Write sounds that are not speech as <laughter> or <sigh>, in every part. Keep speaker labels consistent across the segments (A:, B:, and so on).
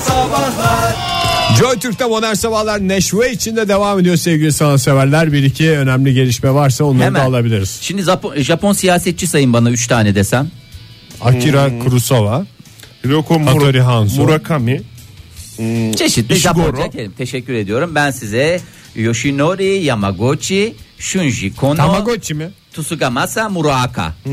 A: Sabahlar
B: Joy Türk'te modern sabahlar neşve içinde devam ediyor sevgili sanatseverler. Bir iki önemli gelişme varsa onları da alabiliriz.
C: Şimdi Japon, Japon siyasetçi sayın bana 3 tane desem.
B: Akira Kurosawa.
D: Roko
B: Hattori
D: Hmm. Mur-
B: Hanzo.
D: Murakami.
C: Çeşitli
D: Ishiguro.
C: Japonca kelime. Teşekkür ediyorum. Ben size Yoshinori Yamaguchi, Shunji Kono,
B: Tamagotchi mi?
C: Tsugamasa Muraka. Ee,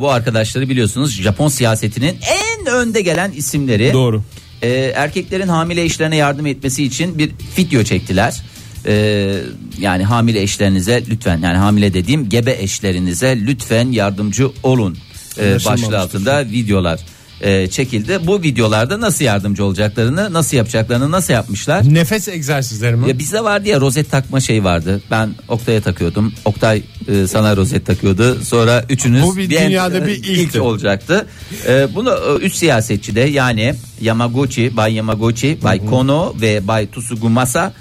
C: bu arkadaşları biliyorsunuz Japon siyasetinin en önde gelen isimleri.
D: Doğru.
C: Ee, erkeklerin hamile eşlerine yardım etmesi için bir video çektiler. Ee, yani hamile eşlerinize lütfen yani hamile dediğim gebe eşlerinize lütfen yardımcı olun ee, başlığı altında videolar e, çekildi. Bu videolarda nasıl yardımcı olacaklarını, nasıl yapacaklarını, nasıl yapmışlar?
B: Nefes egzersizleri mi?
C: Ya bizde vardı ya rozet takma şey vardı. Ben Oktay'a takıyordum. Oktay e, sana rozet takıyordu. Sonra üçünüz e,
B: Bu bir dünyada bir ilkti.
C: ilk olacaktı. E, bunu e, üç siyasetçi de yani Yamaguchi, Bay Yamaguchi, Bay Kono ve Bay Tsugumasa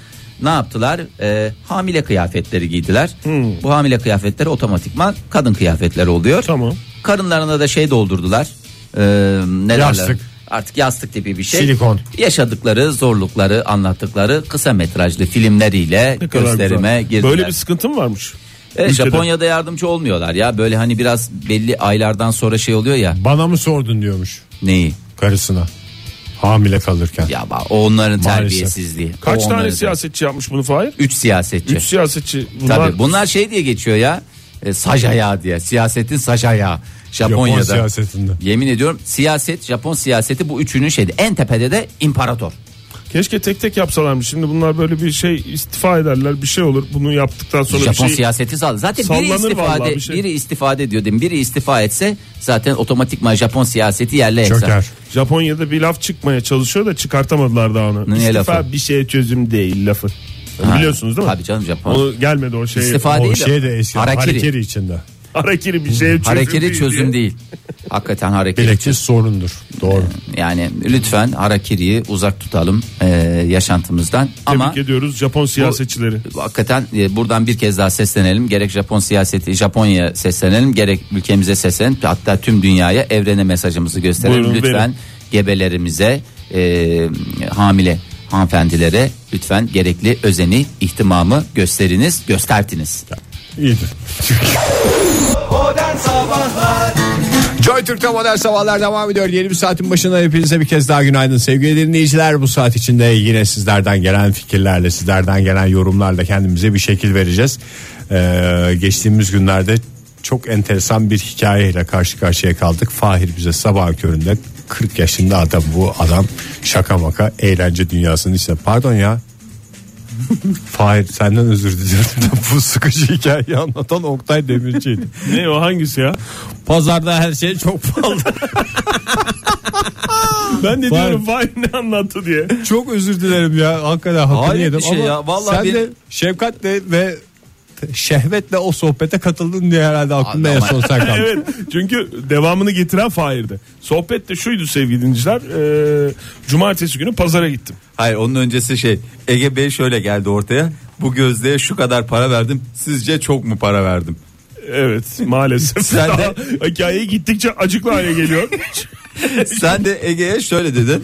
C: ne yaptılar? E, hamile kıyafetleri giydiler. Bu hamile kıyafetleri otomatikman kadın kıyafetleri oluyor.
D: Tamam.
C: Karınlarına da şey doldurdular. E, ne derler?
B: Yastık.
C: Artık yastık tipi bir şey.
B: Silikon.
C: Yaşadıkları zorlukları anlattıkları kısa metrajlı filmleriyle
D: Ne kadar
C: gösterime
D: güzel.
C: girdiler.
D: Böyle bir sıkıntı mı varmış?
C: Evet,
D: Ülkede.
C: Japonya'da yardımcı olmuyorlar ya böyle hani biraz belli aylardan sonra şey oluyor ya
B: Bana mı sordun diyormuş
C: neyi
B: karısına. Hamile kalırken.
C: ya bak, o onların
B: Maalesef.
C: terbiyesizliği.
D: Kaç
C: O
D: tane
C: onların-
D: siyasetçi yapmış bunu Fahir?
C: Üç siyasetçi.
D: Üç siyasetçi. Bunlar,
C: Tabii bunlar şey diye geçiyor ya e, saj ayağı diye siyasetin saj ayağı
B: Japon
C: Japonya'da.
B: siyasetinde.
C: Yemin ediyorum siyaset Japon siyaseti bu üçünün şeydi en tepede de imparator.
D: Keşke tek tek yapsalarmış. Şimdi bunlar böyle bir şey istifa ederler bir şey olur. Bunu yaptıktan sonra bir
C: Japon
D: şey.
C: siyaseti sağladı. Zaten biri
D: Sallanır vallahi
C: istifade,
D: bir şey.
C: biri istifade ediyor değil mi? Biri istifa etse zaten otomatikman Japon siyaseti yerle ekser.
B: Çöker.
D: Japonya'da bir laf çıkmaya çalışıyor da çıkartamadılar daha onu.
C: Ne
D: istifa
C: lafı?
D: bir şeye çözüm değil lafı.
C: Ha,
D: Biliyorsunuz değil mi?
C: Tabii canım Japon.
D: Onu gelmedi o şey.
C: İstifa
B: O
C: değil
B: şey de
C: de
B: eski.
C: harakiri.
B: Harakiri. içinde.
D: Harekiri bir şeye çözüm
C: harekiri
D: değil
C: çözüm
D: diye.
C: değil. Hakikaten harekiri.
B: Bilekçi sorundur. Doğru.
C: Yani lütfen harakiriyi uzak tutalım e, yaşantımızdan.
D: Tebrik
C: Ama
D: ediyoruz Japon siyasetçileri.
C: hakikaten e, buradan bir kez daha seslenelim. Gerek Japon siyaseti, Japonya'ya seslenelim. Gerek ülkemize seslenelim. Hatta tüm dünyaya evrene mesajımızı gösterelim.
D: Buyurun,
C: lütfen
D: verin.
C: gebelerimize, e, hamile hanımefendilere lütfen gerekli özeni, ihtimamı gösteriniz, göstertiniz.
B: İyidir.
A: Modern Sabahlar
B: Joy Türk'te modern sabahlar devam ediyor. Yeni bir saatin başına hepinize bir kez daha günaydın sevgili dinleyiciler. Bu saat içinde yine sizlerden gelen fikirlerle, sizlerden gelen yorumlarla kendimize bir şekil vereceğiz. Ee, geçtiğimiz günlerde çok enteresan bir hikayeyle karşı karşıya kaldık. Fahir bize sabah köründe 40 yaşında adam bu adam şaka maka eğlence dünyasının içinde. Pardon ya <laughs> Fahir senden özür diliyorum. bu sıkıcı hikayeyi anlatan Oktay Demirci'ydi.
D: Ne o hangisi ya?
B: Pazarda her şey çok pahalı.
D: Ben de
B: Vay.
D: diyorum vay ne anlattı diye.
B: Çok özür dilerim ya. Hakikaten hakkını
C: Hayret
B: yedim
C: bir şey
B: ama
C: ya. Vallahi
B: sen
C: bir-
B: de şefkatle ve şehvetle o sohbete katıldın diye herhalde aklımda en
C: Abi
B: son sen kaldın.
D: <laughs> evet çünkü devamını getiren Fahir'di. Sohbet de şuydu sevgili dinleyiciler. Ee, cumartesi günü pazara gittim.
C: Hayır onun öncesi şey Ege Bey şöyle geldi ortaya. Bu gözlüğe şu kadar para verdim. Sizce çok mu para verdim? <laughs>
D: Evet maalesef.
C: Sen de-
D: Daha <laughs> Hikaye gittikçe acıklı
C: <laughs>
D: hale geliyor.
C: Sen de Ege'ye şöyle dedin.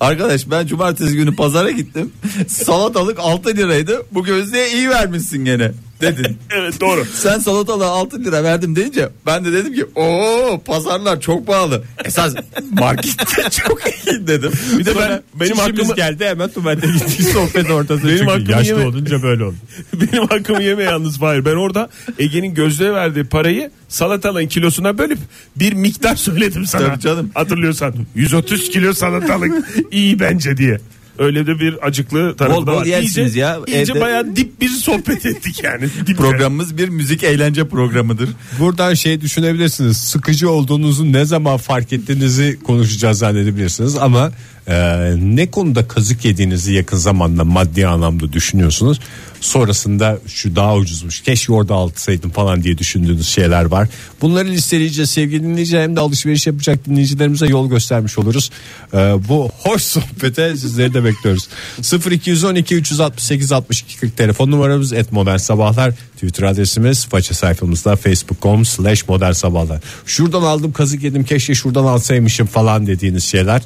C: Arkadaş ben cumartesi günü pazara gittim. Salatalık 6 liraydı. Bu gözlüğe iyi vermişsin gene dedin.
D: evet doğru.
C: Sen salatalığa 6 lira verdim deyince ben de dedim ki ooo pazarlar çok pahalı. Esas markette <laughs> çok iyi dedim.
D: Bir de ben benim hakkımı
B: geldi hemen tuvalete gittik sohbet ortasında.
D: <laughs> Benim
B: Benim
D: hakkımı
B: yaşlı
D: yeme-
B: olunca böyle oldu.
D: <laughs> benim hakkımı yeme yalnız Fahir. Ben orada Ege'nin gözlüğe verdiği parayı salatalığın kilosuna bölüp bir miktar söyledim sana.
C: Tabii canım.
D: Hatırlıyorsan 130 kilo salatalık <laughs> iyi bence diye. Öyle de bir acıklı tarafı
C: Bol
D: da
C: bol
D: var.
C: yersiniz
D: iyice,
C: ya,
D: İyice
C: evde.
D: bayağı dip bir sohbet ettik yani. Dip
C: Programımız bir müzik eğlence programıdır.
B: Buradan şey düşünebilirsiniz. Sıkıcı olduğunuzu ne zaman fark ettiğinizi konuşacağız zannedebilirsiniz ama e, ne konuda kazık yediğinizi yakın zamanda maddi anlamda düşünüyorsunuz. Sonrasında şu daha ucuzmuş keşke orada alsaydım falan diye düşündüğünüz şeyler var. Bunları listeleyeceğiz sevgili dinleyiciler hem de alışveriş yapacak dinleyicilerimize yol göstermiş oluruz. E, bu hoş sohbete sizleri de bekliyoruz. 0212 368 62 40 telefon numaramız et modern sabahlar Twitter adresimiz faça sayfamızda facebook.com slash modern sabahlar. Şuradan aldım kazık yedim keşke şuradan alsaymışım falan dediğiniz şeyler.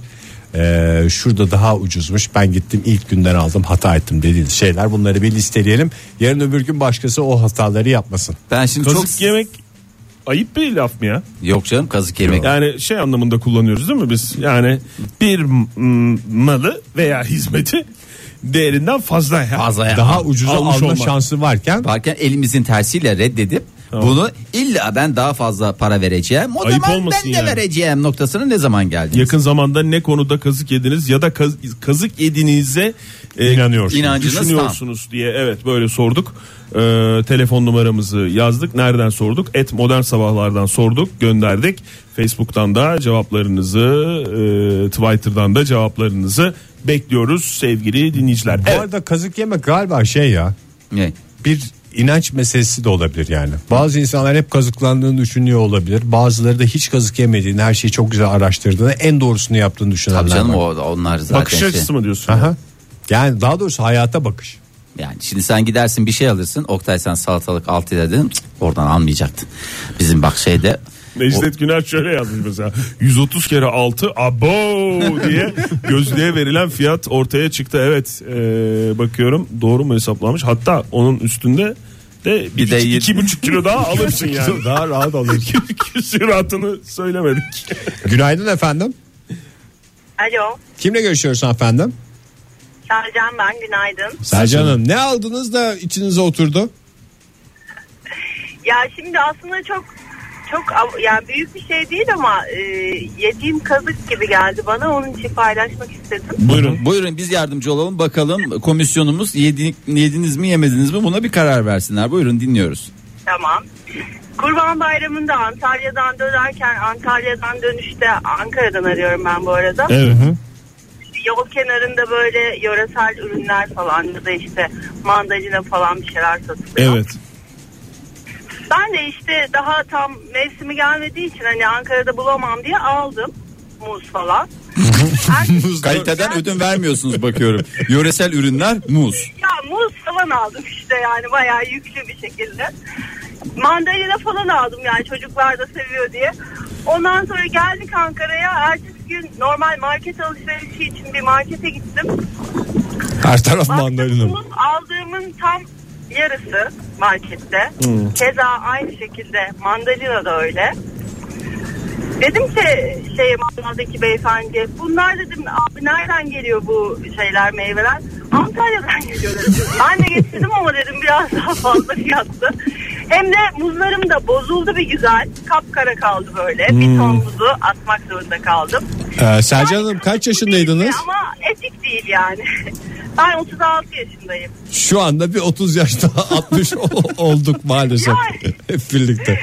B: e, şurada daha ucuzmuş ben gittim ilk günden aldım hata ettim dediğiniz şeyler bunları bir listeleyelim. Yarın öbür gün başkası o hataları yapmasın.
C: Ben şimdi
D: Kazık
C: çok
D: yemek ayıp bir laf mı ya?
C: yok canım kazık yemek.
D: Yani şey anlamında kullanıyoruz değil mi biz? Yani bir m- malı veya hizmeti değerinden fazla ya.
C: Fazla ya.
B: Daha ucuza
D: almış
B: alma
D: olmak.
B: şansı varken
C: Varken elimizin tersiyle reddedip bunu illa ben daha fazla para vereceğim. O
D: Ayıp
C: zaman
D: olmasın
C: ben de
D: yani.
C: vereceğim noktasına ne zaman geldiniz?
D: Yakın zamanda ne konuda kazık yediniz ya da kaz- kazık yediğinize e,
B: İnanıyorsunuz.
C: İnancınız
D: düşünüyorsunuz diye evet böyle sorduk. Ee, telefon numaramızı yazdık. Nereden sorduk? Et modern sabahlardan sorduk, gönderdik. Facebook'tan da cevaplarınızı, e, Twitter'dan da cevaplarınızı bekliyoruz sevgili dinleyiciler.
B: bu
D: Evet.
B: arada kazık yemek galiba şey ya
C: Ne?
B: bir inanç meselesi de olabilir yani. Bazı insanlar hep kazıklandığını düşünüyor olabilir. Bazıları da hiç kazık yemediğini, her şeyi çok güzel araştırdığını, en doğrusunu yaptığını düşünenler
C: Tabii canım
B: var.
C: o, onlar zaten
D: Bakış
C: şey.
D: açısı mı diyorsun?
B: Aha. Yani daha doğrusu hayata bakış.
C: Yani şimdi sen gidersin bir şey alırsın. Oktay sen salatalık 6 lira dedin. Cık, Oradan almayacaktın. Bizim bak şeyde
D: Necdet Güner şöyle yazmış mesela 130 kere 6 abo diye gözlüğe verilen fiyat ortaya çıktı. Evet e, bakıyorum doğru mu hesaplanmış hatta onun üstünde de bir,
C: Bir de yedi-
D: iki buçuk kilo <laughs> daha alırsın
B: <laughs>
D: yani.
B: daha rahat
D: <laughs>
B: olur.
D: Küsuratını söylemedik.
B: Günaydın efendim.
E: Alo.
B: Kimle görüşüyoruz efendim?
E: Sercan ben günaydın.
B: Sercan Hanım. Ne aldınız da içinize oturdu?
E: Ya şimdi aslında çok çok av- yani büyük bir şey değil ama e, yediğim kazık gibi geldi bana onun için paylaşmak istedim.
D: Buyurun.
C: Buyurun biz yardımcı olalım bakalım komisyonumuz yedi- yediniz mi yemediniz mi buna bir karar versinler. Buyurun dinliyoruz.
E: Tamam. Kurban Bayramı'nda Antalya'dan dönerken Antalya'dan dönüşte Ankara'dan arıyorum ben bu arada.
D: Evet.
E: Yol kenarında böyle yöresel ürünler falan ya da işte mandalina falan bir şeyler satılıyor.
D: Evet.
E: Ben de işte daha tam mevsimi gelmediği için hani Ankara'da bulamam diye aldım muz falan. Ertesi-
C: Kaliteden ödün vermiyorsunuz bakıyorum. Yöresel ürünler muz.
E: ya muz falan aldım işte yani bayağı yüklü bir şekilde. Mandalina falan aldım yani çocuklar da seviyor diye. Ondan sonra geldik Ankara'ya. Ertesi gün normal market alışverişi için bir markete gittim.
B: Her taraf mandalina.
E: Baktım aldığımın tam yarısı markette. Keza aynı şekilde mandalina da öyle. Dedim ki şey mangaldaki beyefendi bunlar dedim abi nereden geliyor bu şeyler meyveler? Antalya'dan geliyor dedim. ben de getirdim ama dedim biraz daha fazla fiyattı. Hem de muzlarım da bozuldu bir güzel. Kapkara kaldı böyle. Bir ton muzu atmak zorunda kaldım.
B: Ee, Sercan Hanım kaç yaşındaydınız?
E: Ama etik değil yani. <laughs> Ben 36 yaşındayım.
B: Şu anda bir 30 yaş <laughs> daha 60 o- olduk maalesef.
E: Yani.
B: Hep birlikte.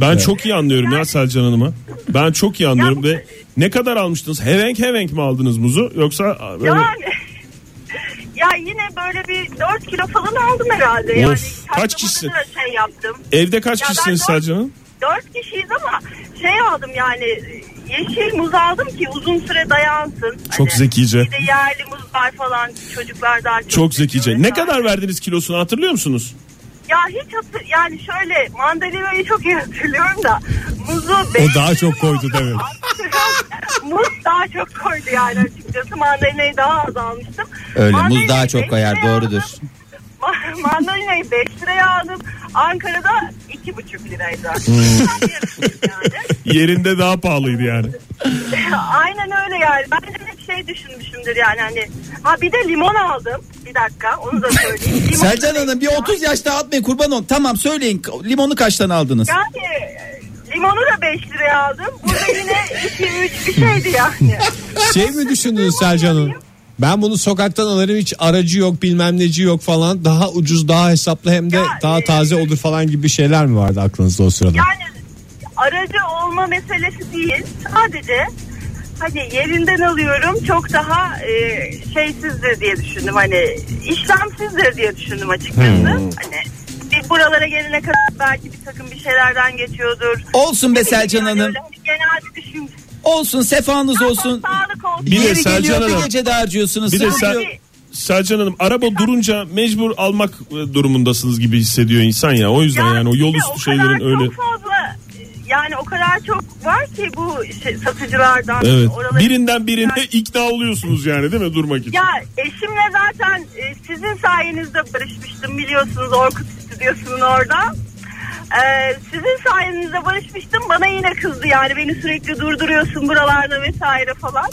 D: Ben çok iyi anlıyorum ya Selcan Hanım'ı. Ben çok iyi anlıyorum
E: Ya-
D: ve ne kadar almıştınız? Hevenk hevenk mi aldınız muzu yoksa böyle
E: Yani <laughs> ya yine böyle bir 4 kilo falan aldım herhalde. Yani
D: Of, kaç
E: kaç
D: kişi?
E: kişi? Şey yaptım.
D: evde kaç
E: Ya ben
D: kişisiniz
E: dört-
D: Selcan Hanım?
E: 4 kişiyiz ama şey aldım yani yeşil muz aldım ki uzun süre dayansın. Hani
D: Çok zekice.
E: Bir de yerli muzlar falan çocuklar daha çok,
D: Çok
E: seviyor
D: zekice. Ne
E: vesaire.
D: kadar verdiniz kilosunu hatırlıyor musunuz?
E: Ya hiç hatır, yani şöyle mandalinayı çok iyi hatırlıyorum da muzu
B: O daha
E: beğendim
B: çok koydu,
E: ama-
B: değil mi?
E: <laughs> muz daha çok koydu yani açıkçası mandalinayı daha az almıştım.
C: Öyle, muz
E: Mandalinayı
C: daha çok
E: beş
C: koyar,
E: liraya
C: doğrudur.
E: aldım. Ma- Mandalinayı 5 liraya aldım. Ankara'da 2,5 liraydı.
C: Hmm.
E: yani. <laughs>
D: Yerinde daha pahalıydı yani.
E: Aynen öyle yani. Ben de hep şey düşünmüşümdür yani hani. Ha bir de limon aldım. Bir dakika onu da söyleyeyim.
C: <laughs>
E: Limon
C: Selcan Hanım bir 30 yaş daha atmayın kurban olun. Tamam söyleyin limonu kaçtan aldınız?
E: Yani e, limonu da 5 liraya aldım. Burada yine 2-3 bir
C: <laughs>
E: şeydi yani.
B: Şey mi düşündünüz Selcan Hanım? Ben bunu sokaktan alırım hiç aracı yok bilmem neci yok falan daha ucuz daha hesaplı hem de
E: Ya,
B: daha
E: e,
B: taze olur falan gibi şeyler mi vardı aklınızda o sırada?
E: Yani aracı olma meselesi değil. Sadece hani yerinden alıyorum çok daha e, şeysizdir diye düşündüm. Hani işlemsizdir diye düşündüm açıkçası.
C: Hmm.
E: Hani bir buralara gelene kadar belki bir takım bir şeylerden geçiyordur.
C: Olsun be
E: Yani
C: Selcan Hanım.
E: öyle hani genel bir düşün.
C: Olsun sefanız olsun.
E: Sağlık olsun.
D: Bir de
C: Yeri
D: Selcan
C: geliyor bir
D: Hanım.
C: gece de harcıyorsunuz.
D: Bir de
C: Sıkıntı
D: sen
C: yok.
D: Selcan Hanım araba durunca mecbur almak e, durumundasındasız gibi hissediyor insan ya. O yüzden yani o yol
E: işte
D: üstü şeylerin
E: kadar
D: öyle
E: Çok fazla e, yani o kadar çok var ki bu şey- satıcılardan.
D: Evet.
E: oralara-
D: Birinden birine ikna oluyorsunuz yani değil mi durmak için?
E: Ya eşimle zaten e, sizin sayenizde barışmıştım biliyorsunuz Orkut Stüdyosu'nun orada. Ee, sizin sayenizde barışmıştım bana yine kızdı yani beni sürekli durduruyorsun buralarda vesaire falan.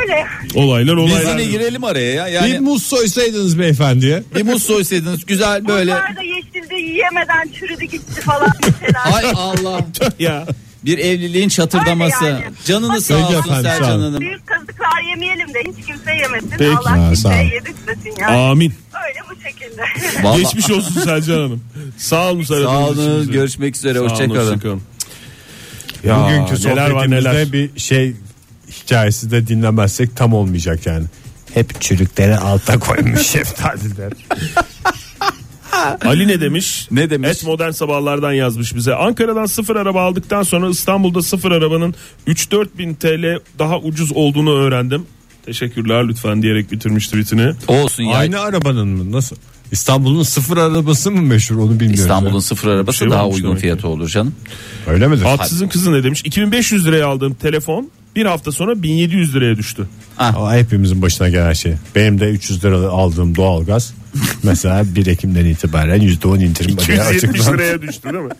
E: Öyle
D: Olaylar
F: Biz
D: olaylar. <laughs>
F: yine girelim araya ya.
B: Bir
F: Yani
B: muz soysaydınız beyefendiye.
F: bir muz soysaydınız güzel böyle.
E: bunlar da yeşildi yiyemeden çürüdü gitti falan mesela.
F: Ay Allah.
D: ya.
F: Bir evliliğin çatırdaması.
E: Öyle yani.
F: Canını sağ
B: Peki
F: olsun
B: efendim, sağ
F: Sercan
B: olun.
F: Hanım.
E: Büyük kazıklar yemeyelim de hiç kimse yemesin.
D: Peki.
B: Ha,
E: Allah
B: sağ ol.
E: kimseye yedirtmesin yani.
D: Amin.
E: Öyle bu şekilde. <laughs>
F: Vallahi-
D: Geçmiş olsun Selcan Hanım. Sağ olun Serhat
F: Sağ
D: Hanım.
F: olun. Görüşmek üzere. Hoşçakalın.
D: Ya,
B: Bugünkü
D: neler var neler.
B: sohbetimizde bir şey hikayesi de dinlemezsek tam olmayacak yani. Hep çürükleri alta koymuş şeftaliler.
D: Ali ne demiş?
F: Ne demiş?
D: Et modern sabahlardan yazmış bize. Ankara'dan sıfır araba aldıktan sonra İstanbul'da sıfır arabanın 3-4 bin TL daha ucuz olduğunu öğrendim. Teşekkürler lütfen diyerek bitirmiş tweetini.
F: Olsun ya.
B: Aynı arabanın mı? Nasıl? İstanbul'un sıfır arabası mı meşhur onu bilmiyorum.
C: İstanbul'un
B: ben.
C: sıfır arabası
D: şey
C: daha
D: varmış
C: uygun
D: demek ki.
C: fiyatı olur canım.
B: Öyle midir?
D: Haksızın kızı ne demiş? 2500 liraya aldığım telefon bir hafta sonra 1700 liraya düştü.
B: Aa, hepimizin başına gelen şey. Benim de 300 lira aldığım doğalgaz mesela 1 Ekim'den itibaren %10 indirim. diye
D: 270
B: açıklandı.
D: liraya düştü değil mi?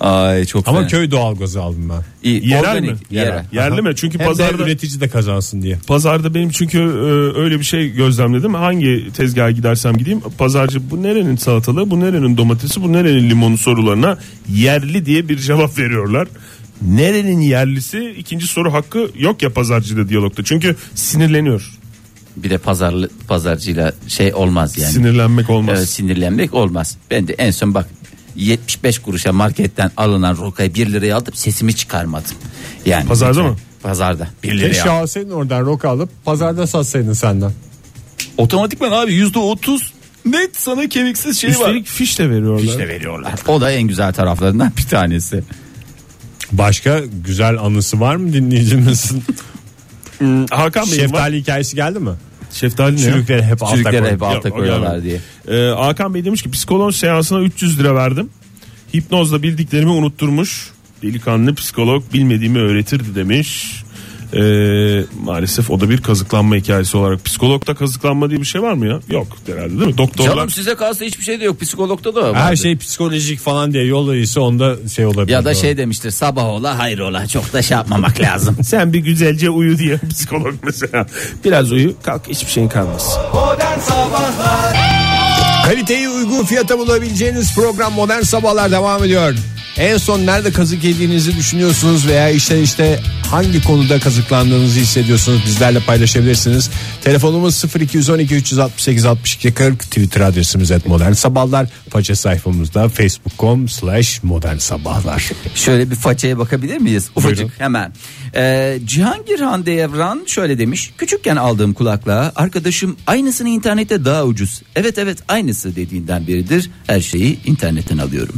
F: Ay çok
B: Ama
F: fena.
B: köy doğalgazı aldım ben.
D: <laughs>
F: İyi,
D: Yerel
F: organik,
D: mi?
F: Yerel.
D: Yerli mi? Çünkü
B: Hem de
D: pazarda
B: üretici de kazansın diye.
D: Pazarda benim çünkü e, öyle bir şey gözlemledim. Hangi tezgaha gidersem gideyim pazarcı bu nerenin salatalığı, bu nerenin domatesi, bu nerenin limonu sorularına yerli diye bir cevap veriyorlar. Nerenin yerlisi ikinci soru hakkı yok ya pazarcıyla diyalogta. Çünkü sinirleniyor.
C: Bir de pazarlı pazarcıyla şey olmaz yani.
D: Sinirlenmek olmaz.
C: Evet, sinirlenmek olmaz. Ben de en son bak 75 kuruşa marketten alınan rokayı 1 liraya aldım sesimi çıkarmadım. Yani
D: Pazarda mı?
C: Pazarda 1 liraya.
B: Keşke
C: aldım.
B: alsaydın oradan roka alıp pazarda satsaydın senden.
F: Otomatikman abi yüzde otuz net sana kemiksiz şey
D: Üstelik fiş de veriyorlar.
C: İşte veriyorlar. O da en güzel taraflarından bir tanesi.
B: Başka güzel anısı var mı dinleyicimizin?
D: Hakan Bey'in var.
B: Şeftali hikayesi geldi mi?
D: Şeftali ne? ya?
B: Çürükleri hep alta
C: Çürükleri
B: koydum.
C: hep alta
D: Yok, o
C: koyuyorlar
D: gelmedi.
C: diye.
D: Ee, Hakan Bey demiş ki psikolog seansına 300 lira verdim. Hipnozla bildiklerimi unutturmuş. Delikanlı psikolog bilmediğimi öğretirdi demiş. Ee, maalesef o da bir kazıklanma hikayesi olarak. Psikologda kazıklanma diye bir şey var mı ya? Yok herhalde değil mi? Doktorlar
C: Canım size kalsa hiçbir şey de yok. Psikologda da var.
B: Her şey psikolojik falan diye yol iyisi onda şey olabilir.
C: ya da
B: Doğru.
C: şey demiştir sabah ola hayır ola çok da şey yapmamak
D: <laughs>
C: lazım.
D: sen bir güzelce uyu diye <laughs> psikolog mesela. Biraz uyu kalk hiçbir şeyin kalmaz.
A: Modern Sabahlar
B: Kaliteyi uygun fiyata bulabileceğiniz program Modern Sabahlar devam ediyor. En son nerede kazık yediğinizi düşünüyorsunuz veya işte işte hangi konuda kazıklandığınızı hissediyorsunuz bizlerle paylaşabilirsiniz. Telefonumuz 0212 368 62 40 Twitter adresimiz et modern sabahlar. Faça sayfamızda facebook.com slash modern sabahlar.
C: Şöyle bir façaya bakabilir miyiz? Ufacık hemen. Ee, Cihangir Hande Evran şöyle demiş. Küçükken aldığım kulaklığa arkadaşım aynısını internette daha ucuz. Evet evet aynısı dediğinden biridir. Her şeyi internetten alıyorum.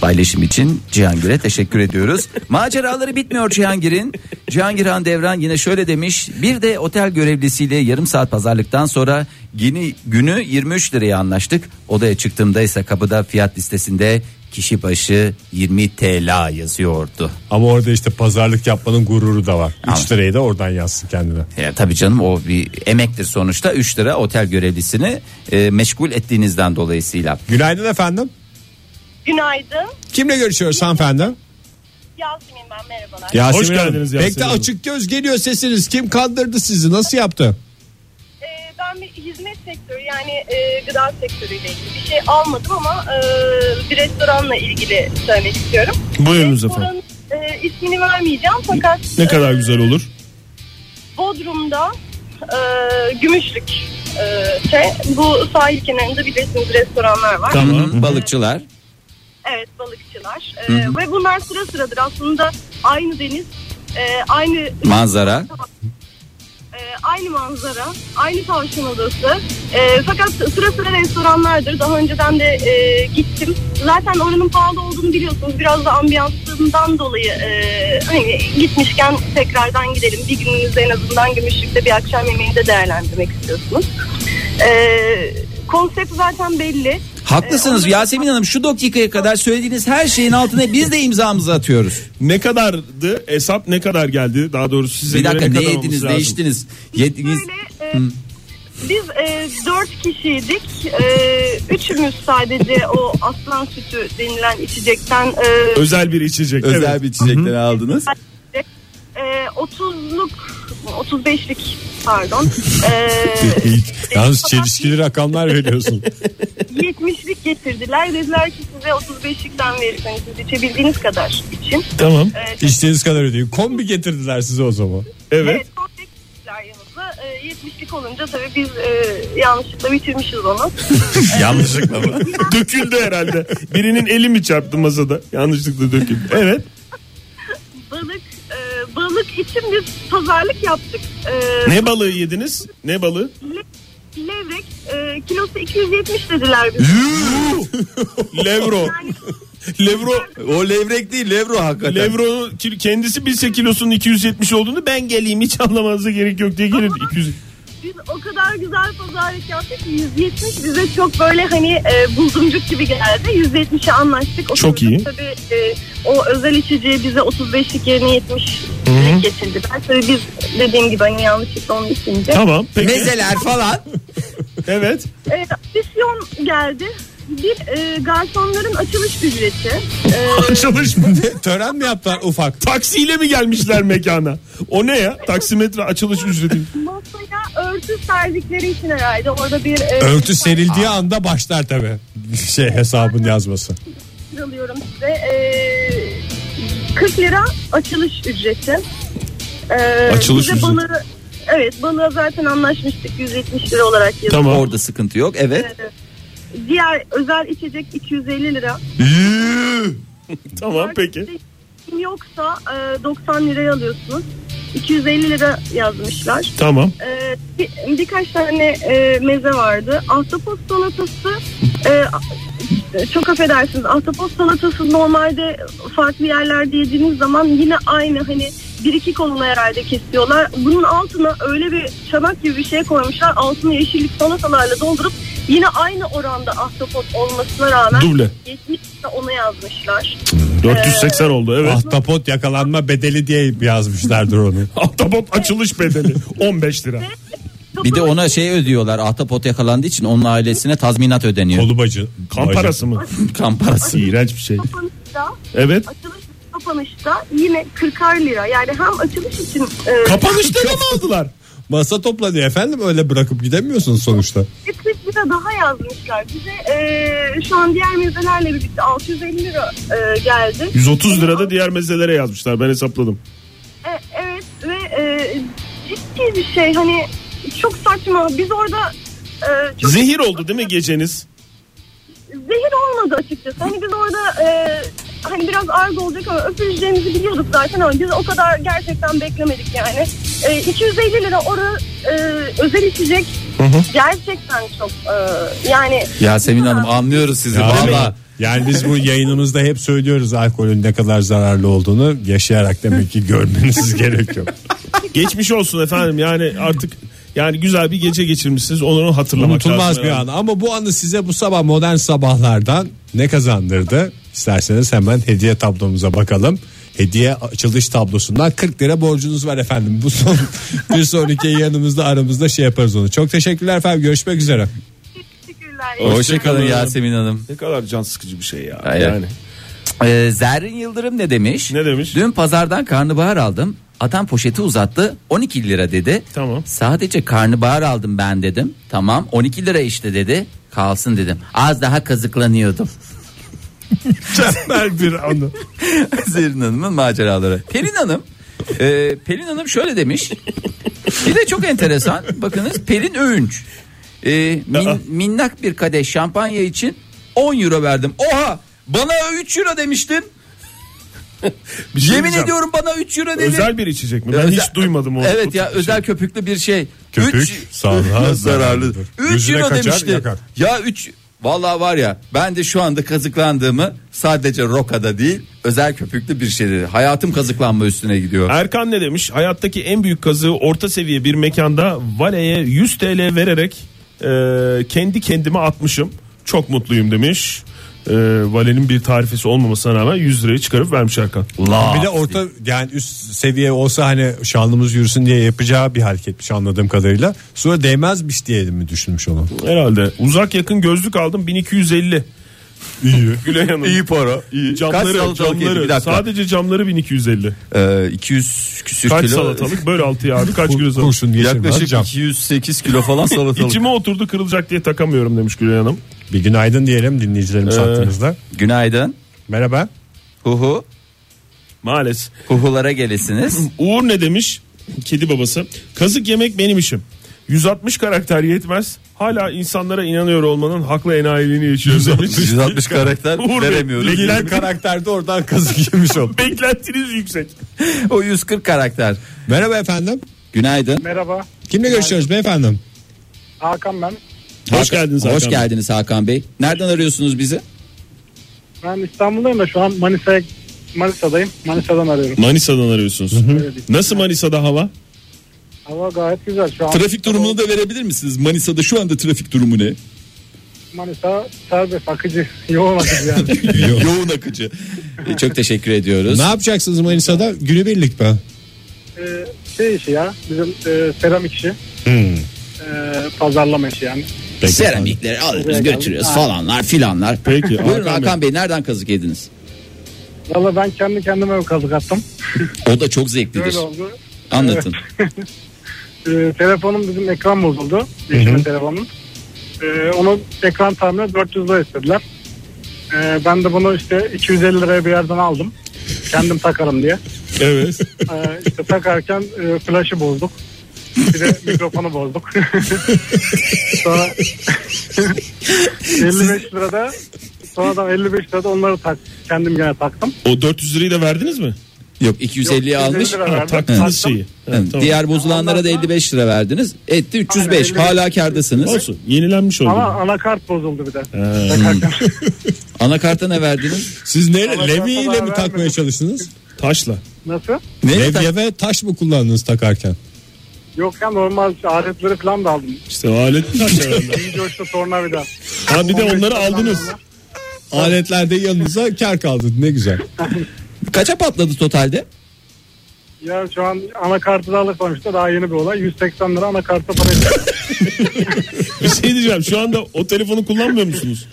C: Paylaşım için Cihangir'e teşekkür ediyoruz. Maceraları bitmiyor Cihangir'in. Cihangir Hande Evran yine şöyle demiş. Bir de otel görevlisiyle yarım saat pazarlıktan sonra yeni günü 23 liraya anlaştık. Odaya çıktığımda ise kapıda fiyat listesinde kişi başı 20 TL yazıyordu.
B: Ama orada işte pazarlık yapmanın gururu da var. 3
C: Anladım.
B: lirayı da oradan yazsın kendine.
C: Ya, E, tabii canım o bir emektir sonuçta 3 lira otel görevlisini e, meşgul ettiğinizden dolayısıyla.
B: Günaydın efendim.
E: Günaydın.
B: Kimle görüşüyoruz hanımefendi?
E: Yasmin ben merhabalar.
B: Yasemin
D: Hoş
B: Hanım.
D: geldiniz
B: Pek
D: Yasemin
B: de
D: Hanım.
B: açık göz geliyor sesiniz. Kim kandırdı sizi? Nasıl yaptı?
E: Ee, ben bir hizmet sektörü yani e, gıda sektörüyle ilgili bir şey almadım ama e, bir restoranla ilgili söylemek istiyorum.
D: Buyurunuz efendim.
E: Restoranın e, ismini vermeyeceğim fakat
D: Ne kadar
E: e,
D: güzel olur.
E: Bodrum'da e, Gümüşlük e, şey, bu sahil kenarında bilirsiniz restoranlar var.
D: Tamam.
C: Hı hı, Balıkçılar.
E: Evet balıkçılar E, ve bunlar sıra sıradır aslında aynı deniz e, aynı
C: Manzara.
E: E, aynı manzara, aynı tavşan odası. E, fakat sıra sıra restoranlardır. Daha önceden de e, gittim. Zaten oranın pahalı olduğunu biliyorsunuz. Biraz da ambiyansından dolayı e, hani gitmişken tekrardan gidelim. Bir gününüzde en azından gümüşlükte bir akşam yemeğinde değerlendirmek istiyorsunuz. E, konsept zaten belli.
C: Haklısınız Yasemin Hanım şu dakikaya kadar söylediğiniz her şeyin altına biz de imzamızı atıyoruz.
D: Ne kadardı hesap ne kadar geldi? Daha doğrusu size
C: Bir
D: göre
C: dakika ne
D: ne kadar
C: yediniz
D: olması
C: ne
D: lazım?
C: içtiniz? Yediniz.
E: Böyle, e, biz e, dört kişiydik. E, üçümüz sadece o aslan sütü denilen içecekten e,
D: Özel bir içecek.
F: Özel
D: evet.
F: bir çiçekleri aldınız.
E: e, 30'luk 35'lik pardon. E,
B: Yalnız çelişkili rakamlar veriyorsun.
E: 70'lik getirdiler. Dediler ki size 35'likten verirseniz siz içebildiğiniz kadar için.
D: <laughs> Tamam.
B: İçtiğiniz kadar ödeyeyim. Kombi getirdiler size o zaman.
D: Evet.
E: Evet. son tek kişiler yanımızda. E, 70'lik olunca tabii biz e, yanlışlıkla bitirmişiz onu.
B: Yanlışlıkla mı?
D: döküldü herhalde. Birinin eli mi çarptı masada? Yanlışlıkla döküldü. Evet.
E: Balık e, balık için biz pazarlık yaptık. E,
D: Ne balığı yediniz? Ne balığı?
E: Levrek e, kilosu 270 dediler bize.
D: Levro. Levro
F: O levrek değil levro hakikaten.
D: Levro kendisi bilse kilosunun 270 olduğunu ben geleyim hiç anlamanıza gerek yok diye gelir. 200.
E: Biz o kadar güzel pazarlık yaptık ki 170 bize çok böyle hani e, bulduncuk gibi geldi. 170'e anlaştık.
D: Çok
E: Oturduk.
D: iyi.
E: Tabii e, o özel içeceği bize 35'lik yerine 70 getirdiler. Tabii biz dediğim gibi hani yanlışlıkla onu içince.
D: Tamam. Peki.
C: Mezeler falan.
D: Evet.
E: E, adisyon geldi. Bir e, garsonların açılış ücreti. E,
D: Açılış mı?
B: Tören mi yaptılar ufak?
D: Taksiyle mi gelmişler mekana? O ne ya? Taksimetre açılış ücreti.
E: masaya örtü serdikleri için herhalde. Orada bir... e,
B: Örtü serildiği anda başlar tabi. Şey hesabın yazması.
E: alıyorum size. Ee, 40 lira açılış ücreti. Ee,
D: Açılış
E: bize
D: ücreti.
E: Balığı, evet balığa zaten anlaşmıştık 170 lira olarak yazıyor. Ee,
D: Tamam.
C: Orada sıkıntı yok evet.
E: Diğer özel içecek 250 lira.
D: Tamam peki.
E: Yoksa e, 90 liraya alıyorsunuz. 250 lira yazmışlar.
D: Tamam.
E: Ee, bir- birkaç tane e, meze vardı. Ahtapot salatası e, çok affedersiniz ahtapot salatası normalde farklı yerlerde yediğiniz zaman yine aynı hani bir iki koluna herhalde kesiyorlar. Bunun altına öyle bir çanak gibi bir şey koymuşlar. Altını yeşillik salatalarla doldurup yine aynı oranda ahtapot olmasına rağmen
D: Duble.
E: 70 lira ona yazmışlar.
D: 480 oldu evet.
B: Ahtapot yakalanma bedeli diye yazmışlardır <laughs> onu.
D: Ah. Ahtapot açılış bedeli 15 lira.
C: Bir de ona şey ödüyorlar ahtapot yakalandığı için onun ailesine tazminat ödeniyor.
B: Kolu bacı.
D: Kan
B: bacı.
D: parası mı?
C: <laughs> Kan parası.
D: <laughs> İğrenç bir şey.
E: Kapanışta,
D: Evet.
E: açılış kapanışta yine 40'ar lira. Yani hem açılış için e,
D: Kapanışta ne mi aldılar?
B: Masa toplanıyor efendim öyle bırakıp gidemiyorsunuz sonuçta.
E: Etlik lira daha yazmışlar. Bize e, şu an diğer mezelerle birlikte 650 lira e, geldi.
D: 130 lirada diğer mezelere yazmışlar ben hesapladım.
E: E, evet ve e, ciddi bir şey hani çok saçma. Biz orada e, çok
D: Zehir oldu değil mi geceniz?
E: zehir olmadı açıkçası. Hani biz orada e, hani biraz arz olacak ama öpüleceğimizi biliyorduk zaten ama biz o kadar gerçekten beklemedik yani. E, 250 lira oru e, özel içecek gerçekten çok e, yani
C: Yasemin Hanım anlıyoruz sizi
B: Ya
C: valla.
B: ama yani biz bu yayınımızda hep söylüyoruz alkolün ne kadar zararlı olduğunu yaşayarak demek ki görmeniz <laughs> gerekiyor.
D: Geçmiş olsun efendim yani artık yani güzel bir gece geçirmişsiniz onu hatırlamak
B: Unutulmaz
D: lazım.
B: bir an ama bu anı size bu sabah modern sabahlardan ne kazandırdı? İsterseniz hemen hediye tablomuza bakalım. Hediye açılış tablosundan 40 lira borcunuz var efendim. Bu <laughs> son bir sonraki yanımızda aramızda şey yaparız onu. Çok teşekkürler efendim görüşmek üzere.
E: teşekkürler.
C: Hoşçakalın Yasemin Hanım.
D: Ne kadar can sıkıcı bir şey ya.
C: Hayır.
D: Yani.
C: Ee, Zerrin Yıldırım ne demiş?
D: Ne demiş?
C: Dün pazardan karnabahar aldım. Adam poşeti uzattı 12 lira dedi.
D: Tamam.
C: Sadece karnabahar aldım ben dedim. Tamam 12 lira işte dedi. Kalsın dedim. Az daha kazıklanıyordum. <laughs>
D: Mükemmel bir anı.
C: Zerrin Hanım'ın maceraları. Pelin Hanım. e, Pelin Hanım şöyle demiş. Bir de çok enteresan. Bakınız Pelin Öğünç. E, min-
D: Aa.
C: minnak bir kadeh şampanya için 10 euro verdim. Oha bana 3 euro demiştin.
D: Bir şey
C: Yemin
D: diyeceğim.
C: ediyorum bana 3 euro dedin.
D: Özel bir içecek mi? Ben
C: Özel-
D: hiç duymadım onu.
C: Evet ya özel köpüklü bir şey.
B: Köpük
F: <laughs>
B: sağlığa zararlı.
C: 3 euro demişti. Ya 3 Vallahi var ya ben de şu anda kazıklandığımı sadece rokada değil özel köpüklü bir şey dedi. Hayatım kazıklanma üstüne gidiyor.
D: Erkan ne demiş? Hayattaki en büyük kazığı orta seviye bir mekanda valeye 100 TL vererek e, kendi kendime atmışım. Çok mutluyum demiş. Ee, Vale'nin bir tarifesi olmamasına rağmen 100 lirayı çıkarıp vermiş Erkan.
B: Bir de orta yani üst seviye olsa hani şanlımız yürüsün diye yapacağı bir hareketmiş anladığım kadarıyla. Sonra değmezmiş diye mi düşünmüş onu?
D: Herhalde. Uzak yakın gözlük aldım 1250. İyi. <laughs> Gülay Hanım.
G: İyi para.
D: İyi.
G: Kaç
D: Camları,
G: salatalık yedi? Bir
D: camları.
G: dakika.
D: Sadece camları 1250.
G: Ee, 200 küsür
D: Kaç
G: kilo.
D: salatalık? Böyle 6'ya abi kaç kilo salatalık?
B: Kurşun
G: Yaklaşık
B: yaklaşık cam.
G: 208
D: <laughs>
G: kilo falan salatalık.
D: İçime oturdu kırılacak diye takamıyorum demiş Gülay Hanım.
B: Bir günaydın diyelim
D: Ee,
B: dinleyicilerimiz hakkımızda.
C: Günaydın.
B: Merhaba.
C: Huhu.
D: Maalesef.
C: Huhulara
G: <laughs>
C: gelesiniz.
D: Uğur ne demiş? Kedi babası. Kazık yemek benim işim. 160 karakter yetmez. Hala insanlara inanıyor olmanın haklı enayiliğini yaşıyoruz demiş.
G: 160 karakter
D: Uğur Bey,
G: veremiyoruz.
D: bilgiler-
B: karakterde oradan kazık yemiş oldu.
D: <laughs> Beklentiniz yüksek.
C: <laughs> o 140 karakter.
B: Merhaba efendim.
C: Günaydın.
H: Merhaba
B: Kimle görüşüyoruz beyefendim?
H: Hakan ben.
D: Hoş geldiniz Hakan
C: Hoş
D: Bey.
C: geldiniz Hakan Bey. Nereden arıyorsunuz bizi?
H: Ben İstanbul'dayım da şu an Manisa'ya Manisa'dayım. Manisa'dan arıyorum.
D: Manisa'dan arıyorsunuz.
H: Evet.
D: Nasıl Manisa'da hava?
H: Hava gayet güzel şu an.
F: Trafik durumunu da verebilir misiniz? Manisa'da şu anda trafik
C: <laughs>
F: durumu ne?
H: Manisa serbest akıcı. <laughs> Yoğun akıcı
D: <laughs>
H: yani.
F: Yoğun akıcı.
C: E, Çok teşekkür ediyoruz.
B: Ne yapacaksınız Manisa'da? Günübirlik mi?
H: ee, şey işi ya bizim e, seramik işi. Ee, pazarlama işi yani.
C: Seramikleri alıyoruz
H: Buraya geldim.
C: götürüyoruz
H: Ha.
C: falanlar filanlar.
D: Peki,
C: Buyurun
D: Hakan
C: Hakan, Bey. nereden kazık yediniz?
H: Valla ben kendi kendime kazık attım.
C: O da çok zevklidir.
H: Böyle oldu.
C: Anlatın.
H: Ee, telefonum bizim ekran bozuldu. Değişme telefonum. Ee, onu ekran tamiri 400 lira istediler. Ee, ben de bunu işte 250 liraya bir yerden aldım. Kendim takarım diye.
D: Evet.
H: Ee, işte takarken e, flaşı bozduk. Bir de mikrofonu bozduk. <laughs> sonra 55 lirada sonradan 55 lirada onları tak, kendim gene taktım.
D: o 400 lirayı da verdiniz mi?
C: Yok 250'ye
H: Yok,
C: almış.
H: 250 lira
D: Ha,
H: verdim.
D: taktınız
H: Taktım.
D: şeyi. Ha,
C: Evet,
D: tamam.
C: Diğer bozulanlara da
H: Ondan sonra-
C: 55 lira verdiniz. Etti 305.
H: Aynen,
C: Hala kardasınız.
D: Olsun. Yenilenmiş oldu.
H: Ama anakart bozuldu bir de. Takarken. <laughs>
C: Anakarta ne verdiniz?
B: Siz
H: Ama
B: neyle Levi
H: şansa
B: ile mi
H: vermedim.
B: takmaya çalıştınız?
D: Taşla.
H: Nasıl?
C: Ne?
B: Levye ve taş mı kullandınız takarken?
H: Yok ya normal aletleri falan da aldım.
D: İşte o
B: <laughs>
D: alet taş herhalde.
H: İyice uçtu tornavida.
D: Ha bir de onları aldınız.
B: Aletlerde yanınıza kar kaldı. Ne güzel.
C: Kaça patladı totalde?
H: Ya şu an anakartı da alır sonuçta daha yeni bir olay. 180 lira anakarta para ödedim.
D: Bir şey diyeceğim. Şu anda o telefonu kullanmıyor musunuz?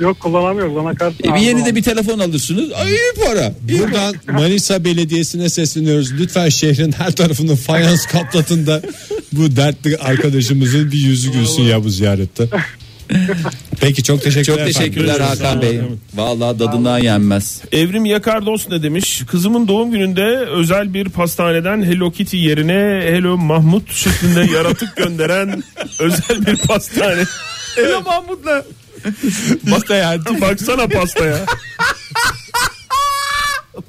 H: Yok kullanamıyoruz anakart.
C: E, bir yeni de bir telefon alırsınız. Ay iyi para.
B: Buradan Manisa Belediyesi'ne sesleniyoruz. Lütfen şehrin her tarafını fayans kaplatın da bu dertli arkadaşımızın bir yüzü gülsün ya bu ziyarette. Peki çok teşekkürler.
C: Çok teşekkürler
B: efendim.
C: Hakan Bey. Vallahi dadından yenmez.
D: Evrim Yakardos ne demiş? Kızımın doğum gününde özel bir pastaneden Hello Kitty yerine Hello Mahmut şeklinde yaratık gönderen özel bir pastane. Hello Mahmut'la. Bak, baksana pastaya.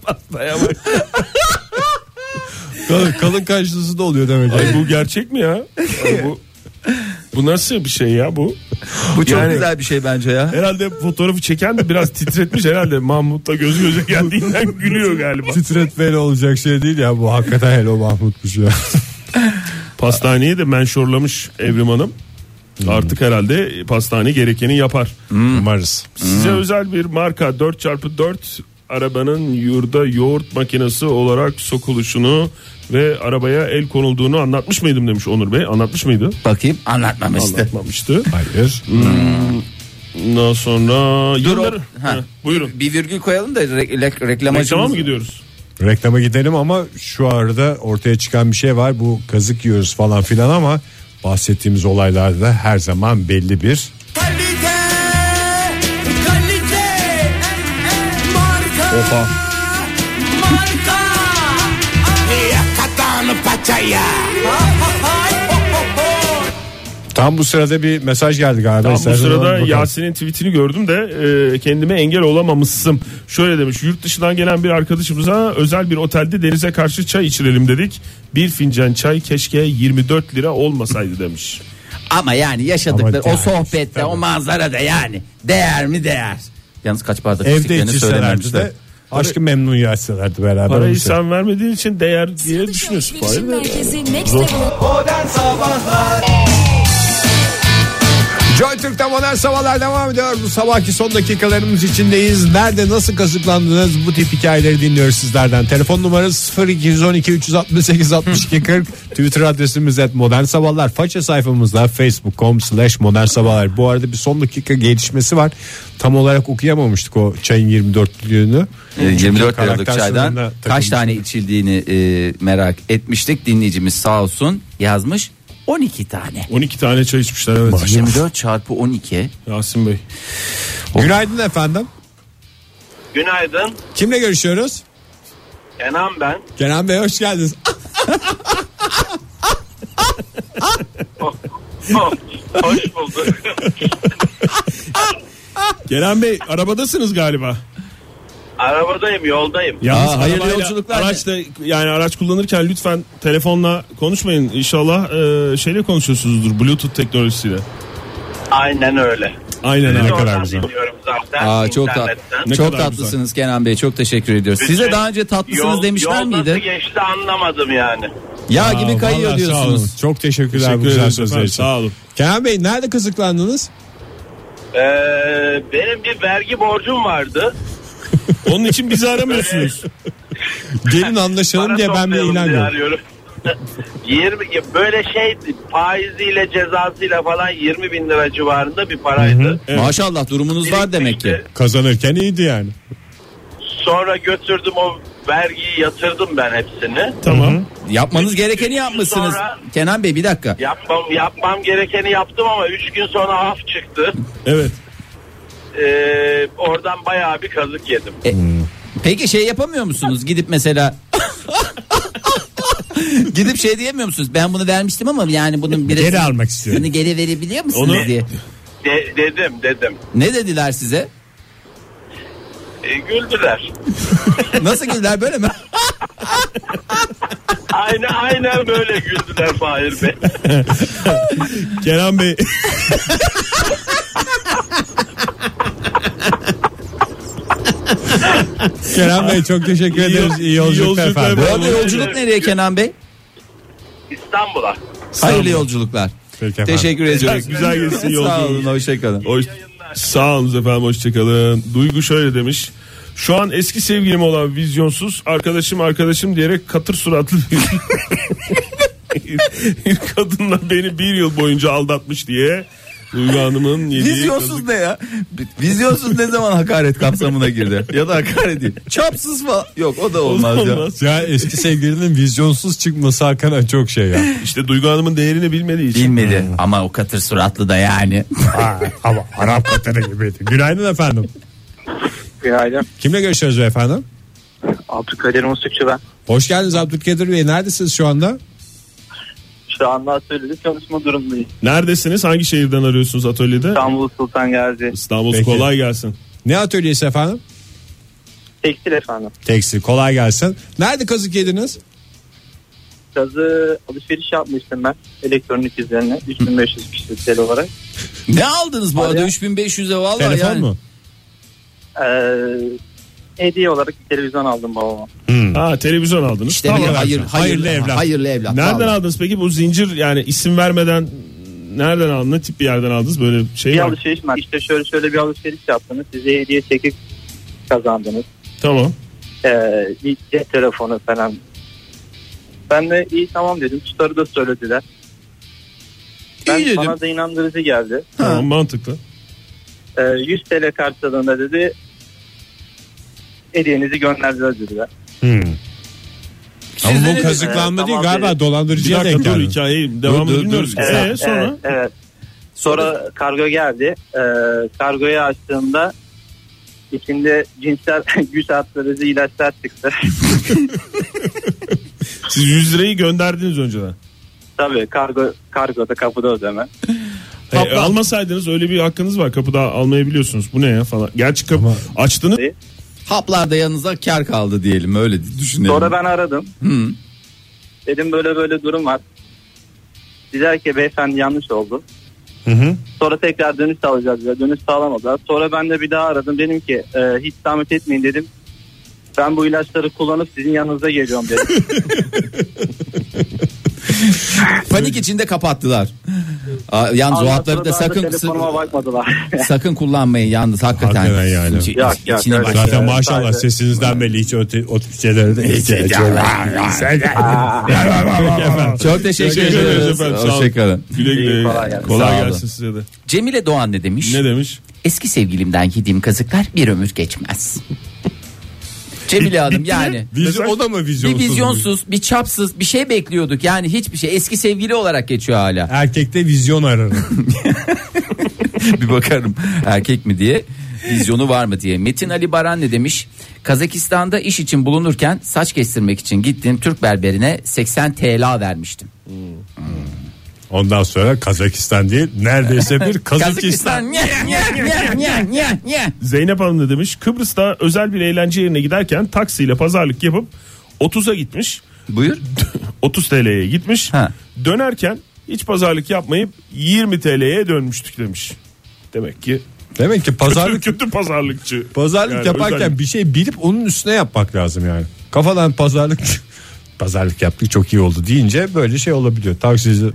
D: pastaya bak.
B: Kalın, kalın karşılısı da oluyor demek ki.
D: Ay, E, bu gerçek mi ya? Ay, bu, bu nasıl bir şey ya bu?
C: Bu çok
D: Yani-
C: güzel bir şey bence ya.
D: Herhalde fotoğrafı çeken de biraz titretmiş herhalde. Mahmut da gözü göze <laughs> geldiğinden gülüyor galiba.
B: Titretmeyle olacak şey değil ya bu hakikaten hello Mahmut'muş ya.
D: Pastaneyi de menşorlamış Evrim Hanım. Artık herhalde pastane gerekeni yapar. Hmm.
B: Umarız.
D: Size özel bir marka 4x4 arabanın yurda yoğurt makinesi olarak sokuluşunu ve arabaya el konulduğunu anlatmış mıydım demiş Onur Bey. Anlatmış mıydı?
C: Bakayım anlatmamıştı.
D: Anlatmamıştı.
B: Hayır.
D: Ondan sonra
C: Dur
D: yıllar...
C: o- ha.
D: Ha, buyurun.
C: Bir virgül koyalım da re- re-
D: Reklama mı
C: reklamacımız.
D: gidiyoruz?
B: Reklama gidelim ama şu arada ortaya çıkan bir şey var. Bu kazık yiyoruz falan filan ama bahsettiğimiz olaylarda her zaman belli bir
A: Kalite, kalite, marka,
D: Oha.
A: marka. Yakatan paçaya.
B: Tam bu sırada bir mesaj geldi galiba.
D: Tam bu
B: İstersen ona
D: sırada
B: bakalım.
D: Yasin'in tweetini gördüm de e, kendime engel olamamışsın. Şöyle demiş yurt dışından gelen bir arkadaşımıza özel bir otelde denize karşı çay içirelim dedik. Bir fincan çay keşke 24 lira olmasaydı
G: <laughs>
D: demiş.
C: Ama yani yaşadıkları
B: Ama
C: o
B: yani,
C: sohbette
B: tabii.
C: o manzarada yani değer mi değer? Yalnız kaç bardak
B: Evde
C: içtiklerini
B: içilselerdi
C: söylememiz
B: de
C: de.
B: aşkı memnun yaşsalardı beraber.
D: Parayı
B: olsa.
D: sen vermediğin için değer diye düşünüyorsun. Fahir de.
I: merkezi Next Level
A: Modern Sabahlar
B: Joy Türk'te modern sabahlar devam ediyor. Bu sabahki son dakikalarımız içindeyiz. Nerede nasıl kazıklandınız bu tip hikayeleri dinliyoruz sizlerden. Telefon numaramız 0212 368 62 40. Twitter adresimiz et modern sabahlar. Faça sayfamızda facebook.com slash modern sabahlar. Bu arada bir son dakika gelişmesi var. Tam olarak okuyamamıştık o çayın 24'lüğünü.
C: Ee, 24 liralık
B: karakter sınırına
C: çaydan kaç
B: takılmış.
C: tane içildiğini e, merak etmiştik. Dinleyicimiz sağ olsun yazmış 12 tane.
D: 12 tane çay içmişler evet.
C: 24 çarpı 12.
D: Yasin Bey.
B: Günaydın efendim.
I: Günaydın.
B: Kimle görüşüyoruz?
I: Kenan ben.
B: Kenan Bey hoş geldiniz.
I: Oh, hoş bulduk.
D: Kerem Bey arabadasınız galiba.
I: Arabadayım, yoldayım.
D: Yalnız
G: Aa, hayırlı
D: arabayla-
G: yolculuklar.
D: Araçta yani araç kullanırken lütfen telefonla konuşmayın. İnşallah e, şeyle konuşuyorsunuzdur Bluetooth teknolojisiyle.
I: Aynen öyle.
D: Aynen abi.
I: Biz oradan
B: güzel.
I: dinliyorum zaten.
C: Aa, çok tat,
I: internetten.
D: Ne
C: çok
D: kadar
C: tatlısınız Kenan Bey. Çok teşekkür ediyoruz.
I: Bütün
C: Size daha önce tatlısınız
I: Yol-
C: demişler
I: yol nasıl
C: miydi?
I: geçti anlamadım yani.
C: Yağ
B: Aa,
C: gibi kayıyor
B: vallahi sağ olun.
C: diyorsunuz.
B: Çok teşekkürler
D: Teşekkür
B: bu güzel
D: ederiz
B: sözler
D: efendim,
B: için.
D: sağ olun.
B: Kenan Bey nerede kazıklandınız?
I: Ee, benim bir vergi borcum vardı.
D: Onun için bizi aramıyorsunuz.
B: Gelin anlaşalım
I: Para
B: diye ben bir
I: toplayalım
B: ilan
I: diye
B: gördüm.
I: arıyorum. <laughs> 20 ya böyle şey faiziyle cezasıyla falan 20 bin lira civarında bir paraydı.
C: Maşallah durumunuz var demek ki.
I: İşte
B: Kazanırken iyiydi yani.
I: Sonra götürdüm o vergiyi yatırdım ben hepsini.
D: tamam.
C: Yapmanız gerekeni yapmışsınız.
I: Sonra-
C: Kenan Bey bir dakika.
I: Yapmam yapmam gerekeni yaptım ama 3 gün sonra af çıktı.
D: <laughs> Evet.
I: Ee, oradan bayağı bir kazık yedim.
C: Peki şey yapamıyor musunuz? Gidip mesela <laughs> Gidip şey diyemiyor musunuz? Ben bunu vermiştim ama yani bunun birisi
B: Geri almak
C: <laughs>
B: istiyorum.
C: bunu geri verebiliyor musunuz
D: Onu-
C: diye.
I: De- dedim dedim.
C: Ne dediler size?
I: Ee, güldüler.
C: Nasıl güldüler böyle mi?
I: Aynen aynen böyle güldüler Fahir Bey.
D: Kenan Bey
B: Kenan Bey çok teşekkür
D: İyi
B: ederiz.
D: yol-
B: İyi yolculuklar
D: yolculuklar
B: efendim.
C: Bu arada yolculuk nereye Kenan Bey?
I: İstanbul'a.
C: Hayırlı yolculuklar.
B: Peki efendim.
C: Teşekkür ediyoruz.
D: güzel geçsin
C: Sağ
D: yolculuğunuz.
C: olun hoşçakalın.
D: Hoş, sağ olun efendim hoşçakalın. Duygu şöyle demiş. Şu an eski sevgilim olan vizyonsuz arkadaşım arkadaşım diyerek katır suratlı bir- bir <laughs> kadınla beni bir yıl boyunca aldatmış diye Duygu Hanım'ın yediği
G: Vizyonsuz
D: kazık-
G: ne ya? Vizyonsuz ne zaman hakaret kapsamına girdi? <laughs> Ya da <laughs> hakaret değil. Çapsız falan. Yok o da olmaz, ya.
D: Olmaz.
B: Ya eski sevgilinin vizyonsuz çıkması hakikaten çok şey ya.
D: İşte Duygu Hanım'ın değerini bilmediği için.
C: Bilmedi ama o katır suratlı da yani.
B: ama Arap Katarı gibiydi. Günaydın efendim.
J: Günaydın.
B: Kimle görüşüyoruz efendim?
J: Abdülkadir Muslukçu ben.
B: Hoş geldiniz Abdülkadir Bey. Neredesiniz şu anda?
J: Şu anda atölyede çalışma durumundayım.
D: Neredesiniz? Hangi şehirden arıyorsunuz atölyede?
J: İstanbul Sultan Gazi.
D: İstanbul
B: Peki.
D: kolay gelsin.
B: Ne atölyesi efendim?
J: Tekstil efendim.
B: Tekstil kolay gelsin. Nerede kazık yediniz?
J: Gazı alışveriş yapmıştım ben. Elektronik üzerine 3500 kişisel olarak.
C: ne aldınız bu
J: Hadi
C: arada
J: ya.
C: 3500'e vallahi
B: Telefon
C: yani.
B: mu?
J: Ee, hediye olarak bir televizyon aldım babama.
D: Ha televizyon aldınız.
C: İşte
D: Tamam
C: bir
D: efendim.
C: hayır, hayırlı, hayırlı evlat. Hayırlı evlat.
D: Nereden
C: vallahi.
D: aldınız peki bu zincir yani isim vermeden nereden aldınız? Ne tip bir yerden aldınız? Böyle şey
J: Bir
D: var.
J: alışveriş var. İşte şöyle şöyle bir alışveriş yaptınız. Size hediye çekip kazandınız.
D: Tamam.
J: Ee, bir cep telefonu falan. Ben de iyi tamam dedim. Tutarı da söylediler. Ben,
C: İyi dedim.
J: Bana da inandırıcı geldi.
D: Tamam mantıklı.
J: Ee, 100 TL karşılığında dedi hediyenizi gönderdiler dediler.
D: Hmm.
B: Ama bu
C: Sizlere-
B: kazıklanma
J: Ee,
B: değil
J: tamam
B: galiba
J: dedi.
D: Bir
B: dolandırıcıya denk
D: dakika dur
B: geldi.
D: hikayeyi devamını
B: Dur, dur,
D: bilmiyoruz.
B: dur.
D: Ee,
J: Evet,
D: sonra
J: evet, evet. Sonra kargo geldi. Ee, kargoyu açtığımda içinde cinsel <laughs> güç arttırıcı ilaçlar çıktı. <laughs>
D: siz 100 lirayı gönderdiniz önceden.
J: Tabii kargo kargoda kapıda ödeme.
D: Ee, almasaydınız öyle bir hakkınız var. Kapıda almayabiliyorsunuz. Bu ne ya falan. Gerçi kapı açtınız.
C: Haplarda yanınıza kar kaldı diyelim öyle düşünelim.
J: Sonra ben aradım.
C: Hı.
J: Dedim böyle böyle durum var. Dediler ki beyefendi yanlış oldu. Sonra tekrar dönüş sağlayacağız dediler. Dönüş sağlamadılar. Sonra ben de bir daha aradım. Dedim ki e, hiç zahmet etmeyin dedim. Ben bu ilaçları kullanıp sizin yanınıza geliyorum dedim.
G: <laughs>
C: Panik içinde kapattılar.
G: Aa, yalnız o
J: Ondan
G: hatları da
J: sonra daha
G: sakın
J: telefonuma bakmadılar.
G: sakın kullanmayın yalnız hakikaten.
B: Hakikaten yani.
G: İçi-
J: Yok, yok,
G: içine
J: öyle
G: bak.
J: şey.
B: Zaten
J: Evet,
B: maşallah
J: sadece-
B: sesinizden belli hiç öte, otobüslere de ihtiyacı yok.
G: Çok teşekkür,
D: Teşekkür ederiz
G: ederiz.
D: efendim, sağ olun.
G: Hoşçakalın.
D: Güle güle.
J: İyi,
D: Kolay
J: kolay
D: gelsin,
J: gelsin.
G: Sağ olun.
D: size de.
C: Cemile Doğan ne demiş?
D: Ne demiş?
C: Eski sevgilimden yediğim kazıklar bir ömür geçmez. Cemile Hanım yani.
B: Vizyon, o da mı
C: Bir
B: vizyonsuz?
C: vizyonsuz, bir çapsız, bir şey bekliyorduk. Yani hiçbir şey. Eski sevgili olarak geçiyor hala.
B: Erkekte vizyon aranır.
C: bir bakarım erkek mi diye vizyonu var mı diye. Metin Ali Baran ne demiş? Kazakistan'da iş için bulunurken saç kestirmek için gittiğim Türk berberine 80 TL vermiştim.
B: Ondan sonra Kazakistan değil neredeyse
D: <laughs>
B: bir Kazakistan.
C: Kazakistan. Nye, nye, nye, nye, nye, nye.
D: Zeynep Hanım ne demiş? Kıbrıs'ta özel bir eğlence yerine giderken taksiyle pazarlık yapıp 30'a gitmiş.
G: Buyur.
D: 30 TL'ye gitmiş.
G: Ha.
D: Dönerken hiç pazarlık yapmayıp 20 TL'ye dönmüştük demiş. Demek ki
B: Demek ki
D: pazarlık
B: pazarlık
D: kötü, pazarlıkçı.
B: pazarlık
D: Yani
B: yaparken
D: özellikle.
B: bir şey bilip onun üstüne yapmak lazım yani. Kafadan pazarlık <laughs> pazarlık yaptık çok iyi oldu deyince böyle şey olabiliyor. Taksici e,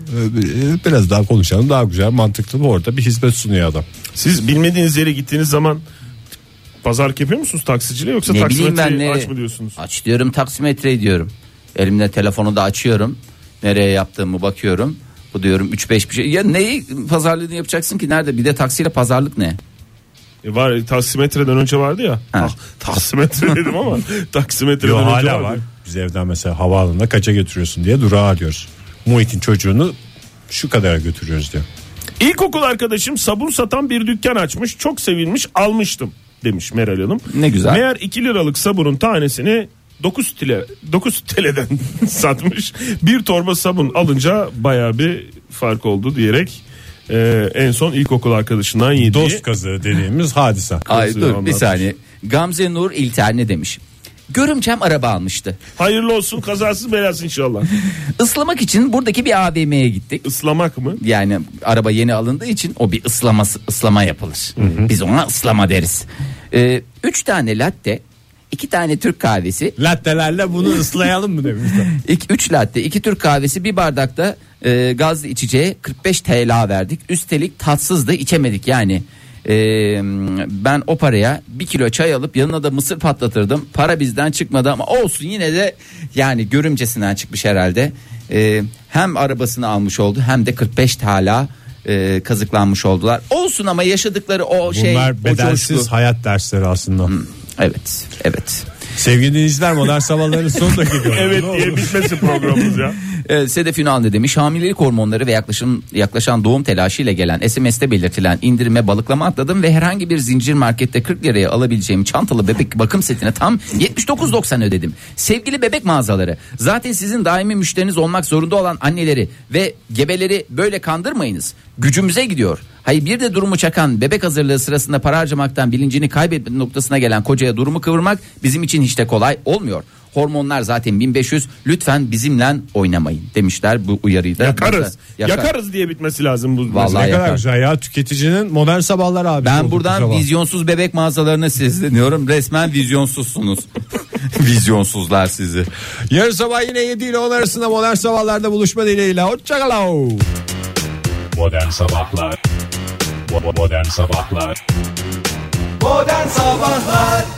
B: biraz daha konuşalım daha güzel mantıklı bu orada bir hizmet sunuyor adam.
D: siz bilmediğiniz yere gittiğiniz zaman pazarlık yapıyor musunuz taksiciyle yoksa
C: Ne bileyim ben
D: taksimetreyi
C: ne?
D: aç mı diyorsunuz?
C: Aç diyorum taksimetre diyorum. Elimde telefonu da açıyorum. Nereye yaptığımı bakıyorum. Bu diyorum 3-5 bir şey. Ya neyi pazarlığını yapacaksın ki nerede? Bir de taksiyle pazarlık ne?
D: E var taksimetreden önce vardı ya.
C: Ha.
D: Ah, taksimetre <laughs> dedim ama
C: <laughs>
D: taksimetreden
B: Yo,
D: önce
B: hala
D: vardı.
B: var. Biz evden mesela havaalanına kaça götürüyorsun diye durağa arıyoruz. Muhit'in çocuğunu şu kadara götürüyoruz diyor.
D: İlkokul arkadaşım sabun satan bir dükkan açmış. Çok sevinmiş almıştım demiş Meral Hanım.
C: Ne güzel.
D: Meğer 2 liralık sabunun tanesini 9 TL 9 <laughs> TL'den satmış. Bir torba sabun alınca baya bir fark oldu diyerek e, en son ilkokul arkadaşından yediği.
B: Dost kazığı dediğimiz hadise.
C: Ay
D: Nasıl
C: dur bir
D: anlatmış?
C: saniye. Gamze Nur İlter ne demiş? Görümcem araba almıştı.
D: Hayırlı olsun kazasız belasız inşallah.
C: Islamak için buradaki bir AVM'ye gittik.
D: Islamak mı?
C: Yani araba yeni alındığı için o bir ıslaması, ıslama yapılır. Biz ona ıslama deriz. Ee, üç tane latte, iki tane Türk kahvesi,
B: Lattelerle bunu ıslayalım mı demişler.
C: iki, üç latte, iki Türk kahvesi, bir bardakta e, gazlı içeceğe 45 TL verdik. Üstelik tatsız da içemedik yani. Ee, ben o paraya bir kilo çay alıp yanına da mısır patlatırdım. Para bizden çıkmadı ama olsun yine de yani görümcesinden çıkmış herhalde. Ee, hem arabasını almış oldu hem de 45 TL e, kazıklanmış oldular. Olsun ama yaşadıkları o şey
B: Bunlar
C: o
B: bedelsiz
C: coşku.
B: hayat dersleri aslında.
C: Evet, evet.
B: Sevgili dinleyiciler modern sabahların <laughs> son dakikaları.
D: Evet
B: Ne olur.
D: diye bitmesin programımız ya.
C: Evet, Ee, Sedef Ünal ne demiş? Hamilelik hormonları ve yaklaşım, yaklaşan doğum telaşıyla gelen SMS'te belirtilen indirime balıklama atladım ve herhangi bir zincir markette 40 liraya alabileceğim çantalı bebek bakım setine tam 79.90 ödedim. Sevgili bebek mağazaları zaten sizin daimi müşteriniz olmak zorunda olan anneleri ve gebeleri böyle kandırmayınız. Gücümüze gidiyor. Hayır bir de durumu çakan bebek hazırlığı sırasında para harcamaktan bilincini kaybetme noktasına gelen kocaya durumu kıvırmak bizim için hiç de kolay olmuyor. Hormonlar zaten 1500 lütfen bizimle oynamayın demişler bu uyarıyı da.
D: Yakarız.
C: Yakar-
D: Yakarız diye bitmesi lazım bu.
C: Vallahi
B: Ne kadar
C: yakar.
B: güzel ya tüketicinin modern sabahlar abi.
C: Ben buradan vizyonsuz bebek mağazalarına sesleniyorum. Resmen vizyonsuzsunuz. <laughs> Vizyonsuzlar sizi.
B: Yarın sabah yine 7 ile 10 arasında modern sabahlarda buluşma dileğiyle. Hoşçakalın.
K: Modern Sabahlar Bo- Modern Sabahlar
A: Modern Sabahlar